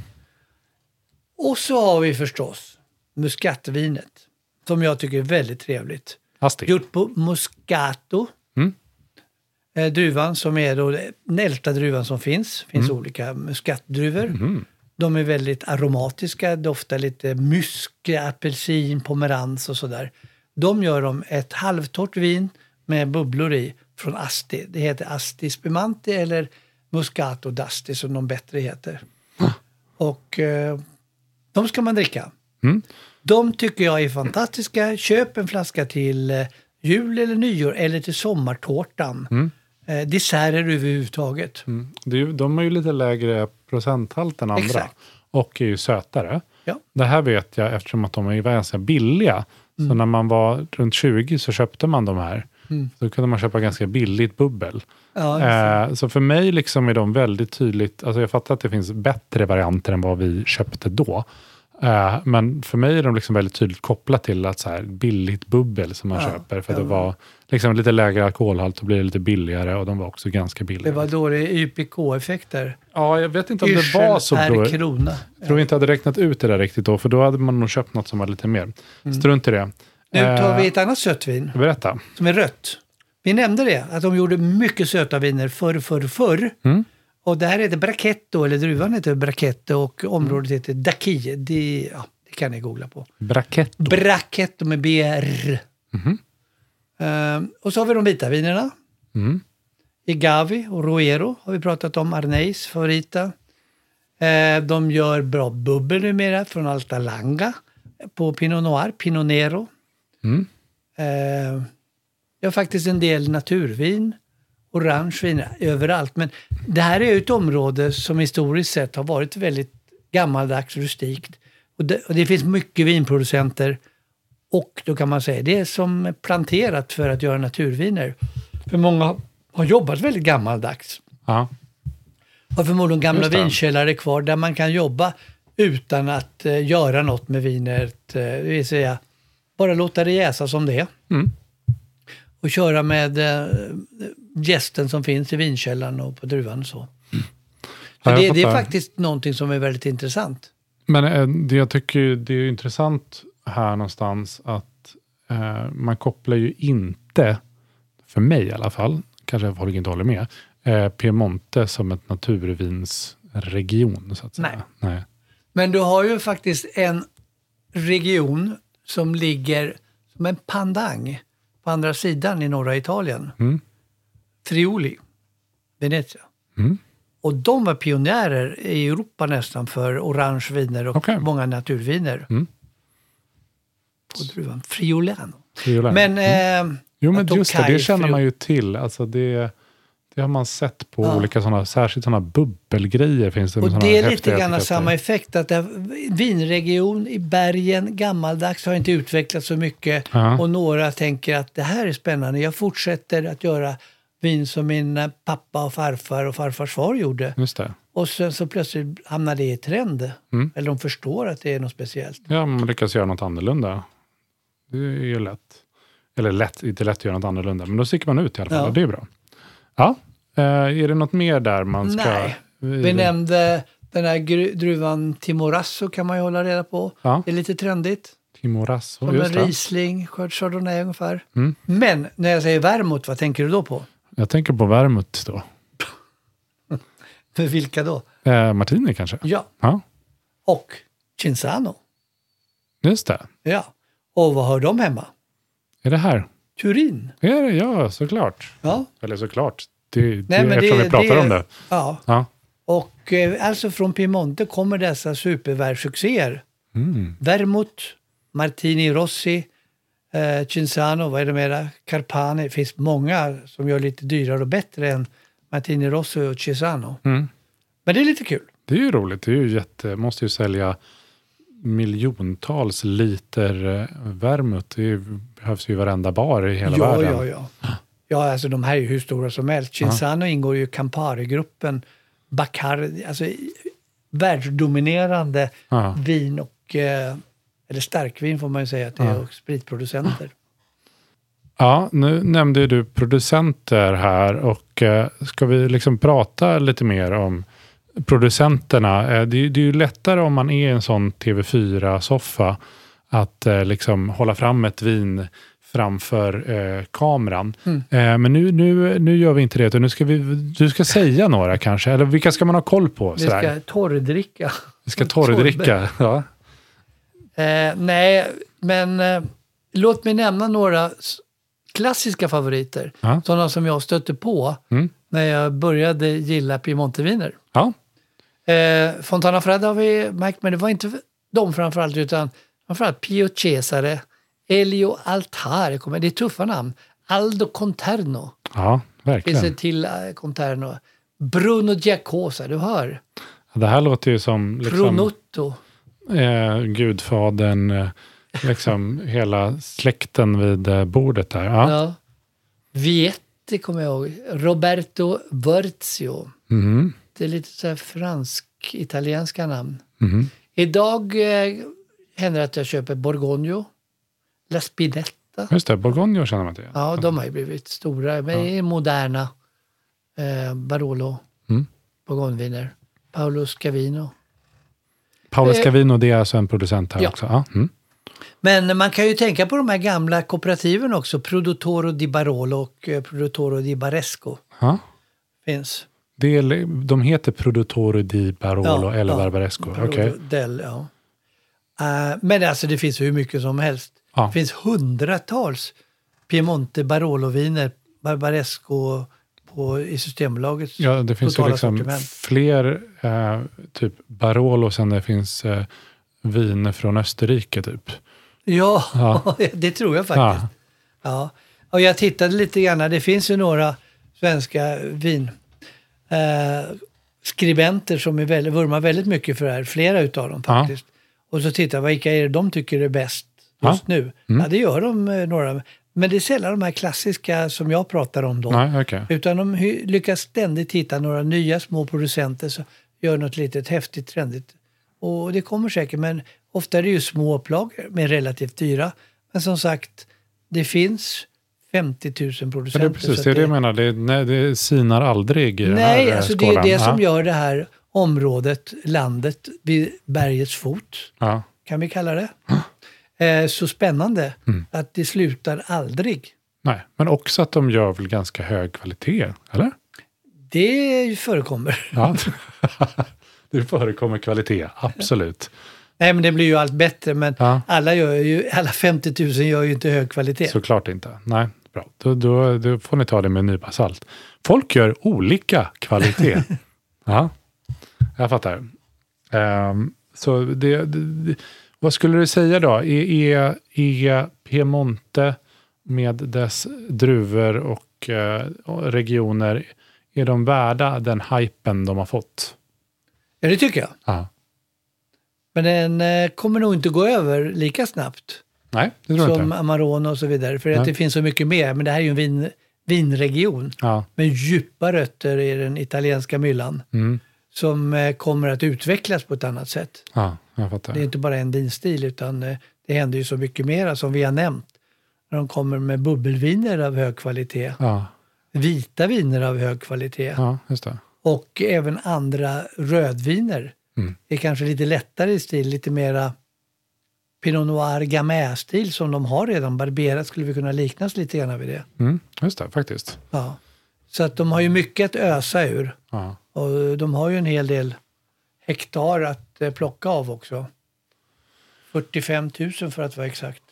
Och så har vi förstås muskatvinet, som jag tycker är väldigt trevligt.
Asti.
Gjort på Moscato.
Mm.
Eh, druvan som är då den äldsta druvan som finns. finns olika muskatdruvor. De är väldigt aromatiska, doftar lite myska, apelsin, pomerans och sådär. De gör de ett halvtorrt vin med bubblor i från Asti. Det heter Asti Spumante eller Muscato d'Asti som de bättre heter. Och eh, de ska man dricka. De tycker jag är fantastiska. Köp en flaska till eh, jul eller nyår eller till sommartårtan. Eh, desserter överhuvudtaget.
Det är ju, de är ju lite lägre procenthalt än andra.
Exakt.
Och är ju sötare.
Ja.
Det här vet jag eftersom att de är ganska billiga.
Mm.
Så när man var runt 20 så köpte man de här. Så kunde man köpa ganska billigt bubbel.
Ja,
Eh, så för mig liksom är de väldigt tydligt, alltså jag fattar att det finns bättre varianter än vad vi köpte då. Eh, men för mig är de liksom väldigt tydligt kopplat till att så här, billigt bubbel som man
Ja,
köper. För att
ja.
det var liksom lite lägre alkoholhalt och blir det lite billigare och de var också ganska
Det
billiga.
var dålig YPK-effekter.
Ja, jag vet inte om det var så
är
då.
krona.
Jag tror inte jag hade räknat ut det där riktigt då, för då hade man nog köpt något som var lite mer. Strunt i det.
Mm. Nu tar
Eh,
vi ett annat sött vin
Berätta.
som är rött. Vi nämnde det, att de gjorde mycket söta viner förr, förr, förr. Och det här heter Brachetto, eller druvan heter Brachetto och området heter Daki. Det, ja, det kan ni googla på.
Brachetto.
Brachetto med BR.
Mhm.
Ehm, och så har vi de vita vinerna.
Mm.
Igavi och Roero har vi pratat om, Arneis favorita. Eh, de gör bra bubbel numera från Altalanga på Pinot Noir, Pinot Nero.
Mm.
Eh, jag har faktiskt en del naturvin, orange vin överallt. Men det här är ju ett område som historiskt sett har varit väldigt gammaldags, rustikt. Och det, och det finns mycket vinproducenter. Och då kan man säga, det är som planterat för att göra naturviner. För många har jobbat väldigt gammaldags.
Ja.
Har förmodligen gamla
Just det.
vinkällare kvar där man kan jobba utan att eh, göra något med vinet. Eh, det vill säga, bara låta det jäsa som det är.
Mm.
Och köra med eh, gästen som finns i vinkällaren och på druvan och så. Så
Mm. Ja, jag
det, det är
fattar.
faktiskt någonting som är väldigt intressant.
Men eh, det jag tycker ju, det är ju intressant här någonstans att eh, man kopplar ju inte, för mig i alla fall, kanske folk inte håller med, eh, Piemonte som ett naturvinsregion. Så att säga.
Nej.
Nej.
Men du har ju faktiskt en region som ligger som en pandang på andra sidan i norra Italien.
Mm.
Friuli, Venezia.
Mm.
Och de var pionjärer i Europa nästan för orangeviner och
Okej.
många naturviner.
Mm.
Och druvan Friulano.
Det är ju lärt.
Men, eh,
Mm. Jo, men
att de
just det,
kaj-
det känner man ju till. Alltså det, det har man sett på
Ja.
olika sådana, särskilt sådana bubbelgrejer finns det. med
och
såna
det är
häftiga
lite grann
etiketter.
samma effekt. att det här, Vinregion i bergen, gammaldags, har inte utvecklats så mycket.
Ja.
Och några tänker att det här är spännande. Jag fortsätter att göra vin som min eh, pappa och farfar och farfars far gjorde.
Just det.
Och sen så plötsligt hamnar det i trend.
Mm.
Eller de förstår att det är något speciellt.
Ja, man lyckas göra något annorlunda. Det är ju lätt. Eller lätt, inte lätt att göra något annorlunda, men då sticker man ut i alla fall
Ja.
och det är bra. Ja, eh, är det något mer där man ska...
Nej. Vi nämnde den här gru- druvan Timorasso kan man ju hålla reda på.
Ja.
Det är lite trendigt.
Timorasso,
Som en
just det.
Riesling, skörd Chardonnay ungefär.
Mm.
Men när jag säger Vermouth, vad tänker du då på?
Jag tänker på Vermut då.
För vilka då?
Eh, Martini kanske?
Ja,
Ja,
och Cinzano.
just det.
Ja. Och vad hör de hemma?
Är det här?
Turin.
Är det? Ja, såklart.
Ja.
Eller såklart. Det, det,
Nej, men
eftersom vi pratar om det.
Ja,
Ja.
och eh, alltså från Piemonte kommer dessa supervärldssuccéer.
Mm.
Vermouth, Martini Rossi, eh, Cinzano, vad är det mera? Carpani. Det finns många som gör lite dyrare och bättre än Martini Rossi och Cinzano.
Mm.
Men det är lite kul.
Det är ju roligt. Det är ju jätte, måste ju sälja miljontals liter eh, vermut. Det är ju- behövs ju i varenda bar i hela
ja,
världen.
Ja, ja, ja. alltså de här är ju hur stora som helst. Cinzano ingår ju i Campari-gruppen, Bacardi, alltså i- världsdominerande
Ja.
vin och, eh, eller starkvin får man ju säga att det är,
Ja.
och spritproducenter.
Ja, nu nämnde ju du producenter här och eh, ska vi liksom prata lite mer om producenterna? Eh, det, är- det är ju lättare om man är i en sån TV4-soffa att eh, liksom hålla fram ett vin framför eh, kameran.
Mm.
Eh, men nu, nu, nu gör vi inte det, utan nu ska vi, du ska säga några kanske, eller vilka ska man ha koll på?
Vi
Sådär.
ska torrdricka.
vi ska torrdricka. Ja.
Eh, nej, men eh, låt mig nämna några s- klassiska favoriter.
Ja.
Sådana som jag stötte på
Mm.
när jag började gilla Piemonteviner.
Ja.
Eh, Fontana Fredda har vi märkt, men det var inte de framförallt, utan framförallt Pio Cesare, Elio Altare, kommer- det är tuffa namn. Aldo Conterno,
ja,
finns det
verkligen.
till eh, Conterno. Bruno Giacosa, du hör.
Det här låter ju som... Liksom,
Pronotto.
eh, gudfadern, eh, liksom hela släkten vid eh, bordet där. Ja.
Ja. Vietti kommer jag ihåg. Roberto Verzio.
Mhm.
Det är lite så här fransk-italienska namn.
Mhm.
Idag eh, händer det att jag köper Borgonio, La Spinetta.
Just det, Bourgogne känner man till.
Ja, de har ju blivit stora, men det är moderna. Eh, Barolo,
Mm.
Bourgogneviner, Paolo Scavino.
Paolo
eh,
Scavino, det är alltså en producent här
ja.
också. Ja. Mm.
Men man kan ju tänka på de här gamla kooperativen också. Produttoro di Barolo och eh, Produttoro di Baresco
Ja.
finns.
Det är, de heter Produttore di Barolo
Ja,
eller
ja.
Barbaresco.
Barolo
Okej.
del, ja. Eh, men alltså det finns hur mycket som helst.
Ja.
Det finns hundratals Piemonte Barolo-viner, Barbaresco på, i Systembolagets
Ja, det finns ju
totala
liksom
sortiment.
fler eh, typ Barolo sen det finns eh, vin från Österrike typ.
Ja,
Ja.
det tror jag faktiskt.
Ja.
Ja, och jag tittade lite grann. Det finns ju några svenska vin eh, skribenter som är väldigt, vurmar väldigt mycket för det här. Flera utav dem
Ja.
faktiskt. Och så tittar jag, vilka är det de tycker är bäst just nu?
Mm.
Ja, det gör de eh, några. Men det är sällan de här klassiska som jag pratar om då.
Nej, okej.
Utan de hy- lyckas ständigt hitta några nya små producenter som gör något litet häftigt, trendigt. Och det kommer säkert, men ofta är det ju små upplagor, men relativt dyra. Men som sagt, det finns 50 000
Ja,
producenter.
det är precis
så
det, är
att
det jag menar. Det, nej, det sinar aldrig i den här
Nej,
eh,
alltså det
skålen.
är det som
ja.
gör det här området, landet, vid bergets fot,
Ja.
kan vi kalla det, eh, så spännande.
Mm.
Att det slutar aldrig.
Nej, men också att de gör väl ganska hög kvalitet, eller?
Det förekommer.
Ja. det förekommer kvalitet, absolut.
Nej, men det blir ju allt bättre, men
Ja.
alla, gör ju, alla 50 000 gör ju inte hög kvalitet.
Såklart inte. Nej, bra. Då, då, då får ni ta det med en nypa salt. Folk gör olika kvalitet. ja, jag fattar. Ehm, så det, det, det, vad skulle du säga då? E, Är, är, är Piemonte med dess druvor och eh, regioner, är de värda den hypen de har fått?
Ja, det tycker jag.
Ja.
Men den eh, kommer nog inte gå över lika snabbt
Nej, det tror jag
som
inte.
Amarone och så vidare. För
Nej.
att det finns så mycket mer. Men det här är ju en vin, vinregion
Ja.
med djupa rötter i den italienska myllan
Mm.
som eh, kommer att utvecklas på ett annat sätt.
ja, jag fattar.
Det är inte bara en vinstil utan eh, det händer ju så mycket mera som vi har nämnt. När de kommer med bubbelviner av hög kvalitet,
Ja,
vita viner av hög kvalitet.
ja, just det.
och även andra rödviner.
Mm.
Det är kanske lite lättare i stil, lite mera Pinot Noir Gamay-stil som de har redan. Barbera skulle vi kunna liknas lite grann vid det.
Mm, just det, faktiskt.
Ja. Så att de har ju mycket att ösa ur
Ja.
och de har ju en hel del hektar att eh, plocka av också. 45 000 för att vara exakt.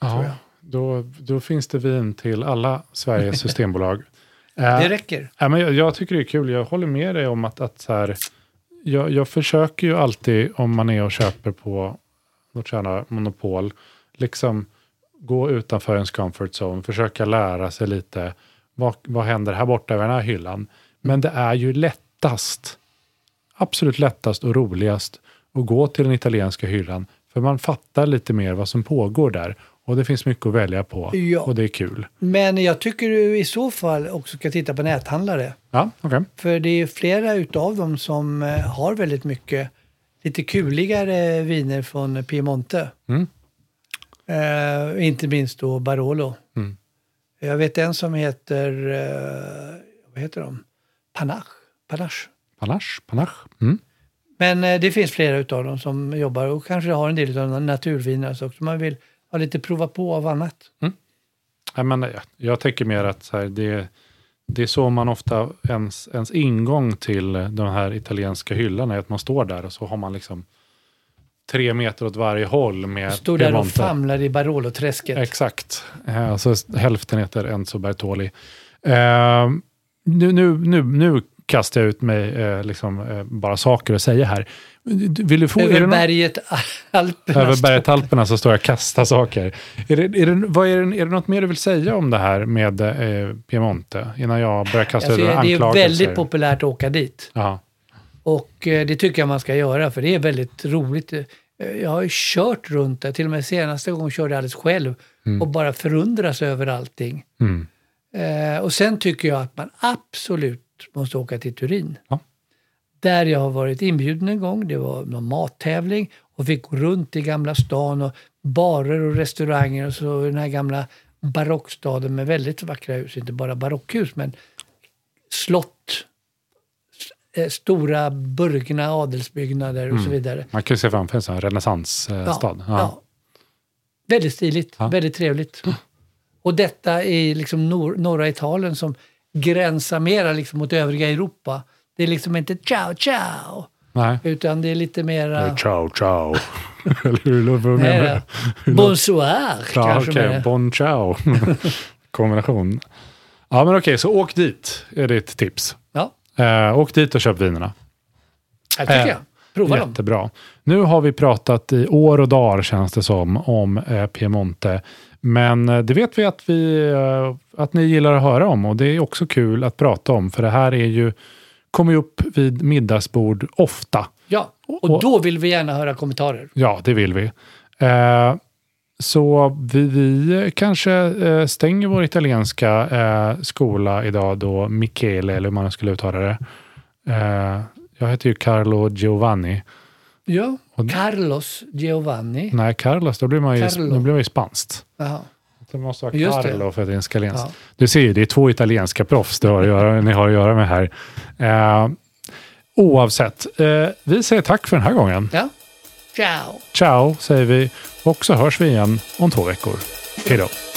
tror
Ja,
jag.
då, då finns det vin till alla Sveriges systembolag. Eh,
Det räcker.
ja, men jag, jag tycker det är kul, jag håller med dig om att, att så här, jag, jag försöker ju alltid om man är och köper på något sådana monopol, liksom gå utanför ens comfort zone, försöka lära sig lite, vad, vad händer här borta i den här hyllan? Men det är ju lättast, absolut lättast och roligast att gå till den italienska hyllan, för man fattar lite mer vad som pågår där. Och det finns mycket att välja på
Ja.
och det är kul.
Men jag tycker du i så fall också ska titta på näthandlare.
Ja, okej.
För det är flera utav dem som eh, har väldigt mycket lite kuligare viner från Piemonte.
Mm.
Eh, inte minst då Barolo.
Mm.
Jag vet en som heter, eh, vad heter de? Panache. Panache.
Panache, panache. Mm.
Men eh, det finns flera utav dem som jobbar och kanske har en del av naturviner och så också. Man vill ha lite prova på av annat.
Nej, men jag, jag tänker mer att så här, det, det är så man ofta, ens, ens ingång till den här italienska hyllan är att man står där och så har man liksom tre meter åt varje håll med
Stod där och
Piemonte.
famlade i Barolo-träsket.
Exakt. Eh, Alltså hälften heter Enzo Bertoli. Eh, nu, nu, nu, nu kastar jag ut mig eh, liksom, eh, bara saker att säga här. Vill du få, är det
Över
någon-
berget Alperna.
över berget Alperna så står jag och kastar saker. Är det, är, det, vad är, det, är det något mer du vill säga om det här med eh, Piemonte? Innan jag börjar kasta
Alltså,
ut
det är
anklagelser.
väldigt populärt att åka dit.
Ja,
Och eh, det tycker jag man ska göra för det är väldigt roligt. eh, jag har ju kört runt där. Till och med senaste gången körde jag alldeles själv och bara förundras över allting.
Mm.
Eh, och sen tycker jag att man absolut måste åka till Turin.
Ja.
Där jag har varit inbjuden en gång, det var någon mattävling och fick gå runt i Gamla stan och barer och restauranger och så den här gamla barockstaden med väldigt vackra hus, inte bara barockhus men slott, s- eh, stora burgna adelsbyggnader och
Mm.
så vidare.
Man kan ju se framför sig en renässansstad.
Ja, ja. Väldigt stiligt,
Ja. Mm.
väldigt trevligt. Och detta i liksom nor- norra Italien som gränsar mera liksom mot övriga Europa. Det är liksom inte ciao ciao,
Nej. Eh,
utan det är lite mera...
Ciao, ciao. Eller hur låter det?
Nej,
med-
då. Bonsoir
Ja,
kanske
okej.
mer.
Bon ciao. Kombination. Ja, men okej, så åk dit är ditt tips.
Ja,
Eh, åk dit och köp vinerna.
här tycker
Eh,
jag. Prova dem.
Jättebra. Nu har vi pratat i år och dagar känns det som om eh, Piemonte. Men eh, det vet vi att, vi eh, att ni gillar att höra om och det är också kul att prata om för det här är ju, kommer ju upp vid middagsbord ofta.
Ja, och då vill vi gärna höra kommentarer.
Ja, det vill vi. Eh, så vi, vi kanske eh, stänger vår italienska eh, skola idag då, Michele, eller hur man skulle uttala det. Eh, jag heter ju Carlo Giovanni.
Ja. Carlos Giovanni.
Nej, Carlos, då blir man ju,
Carlo.
då blir man ju spanskt.
Jaha.
Det måste vara
Just det.
Carlo för att det är en italiensk.
Ja.
Du ser ju, det är två italienska proffs du har att göra, ni har att göra med här. Eh, oavsett, eh, vi säger tack för den här gången.
Ja. Ciao.
Ciao, säger vi. Och så hörs vi igen om två veckor. Hej då.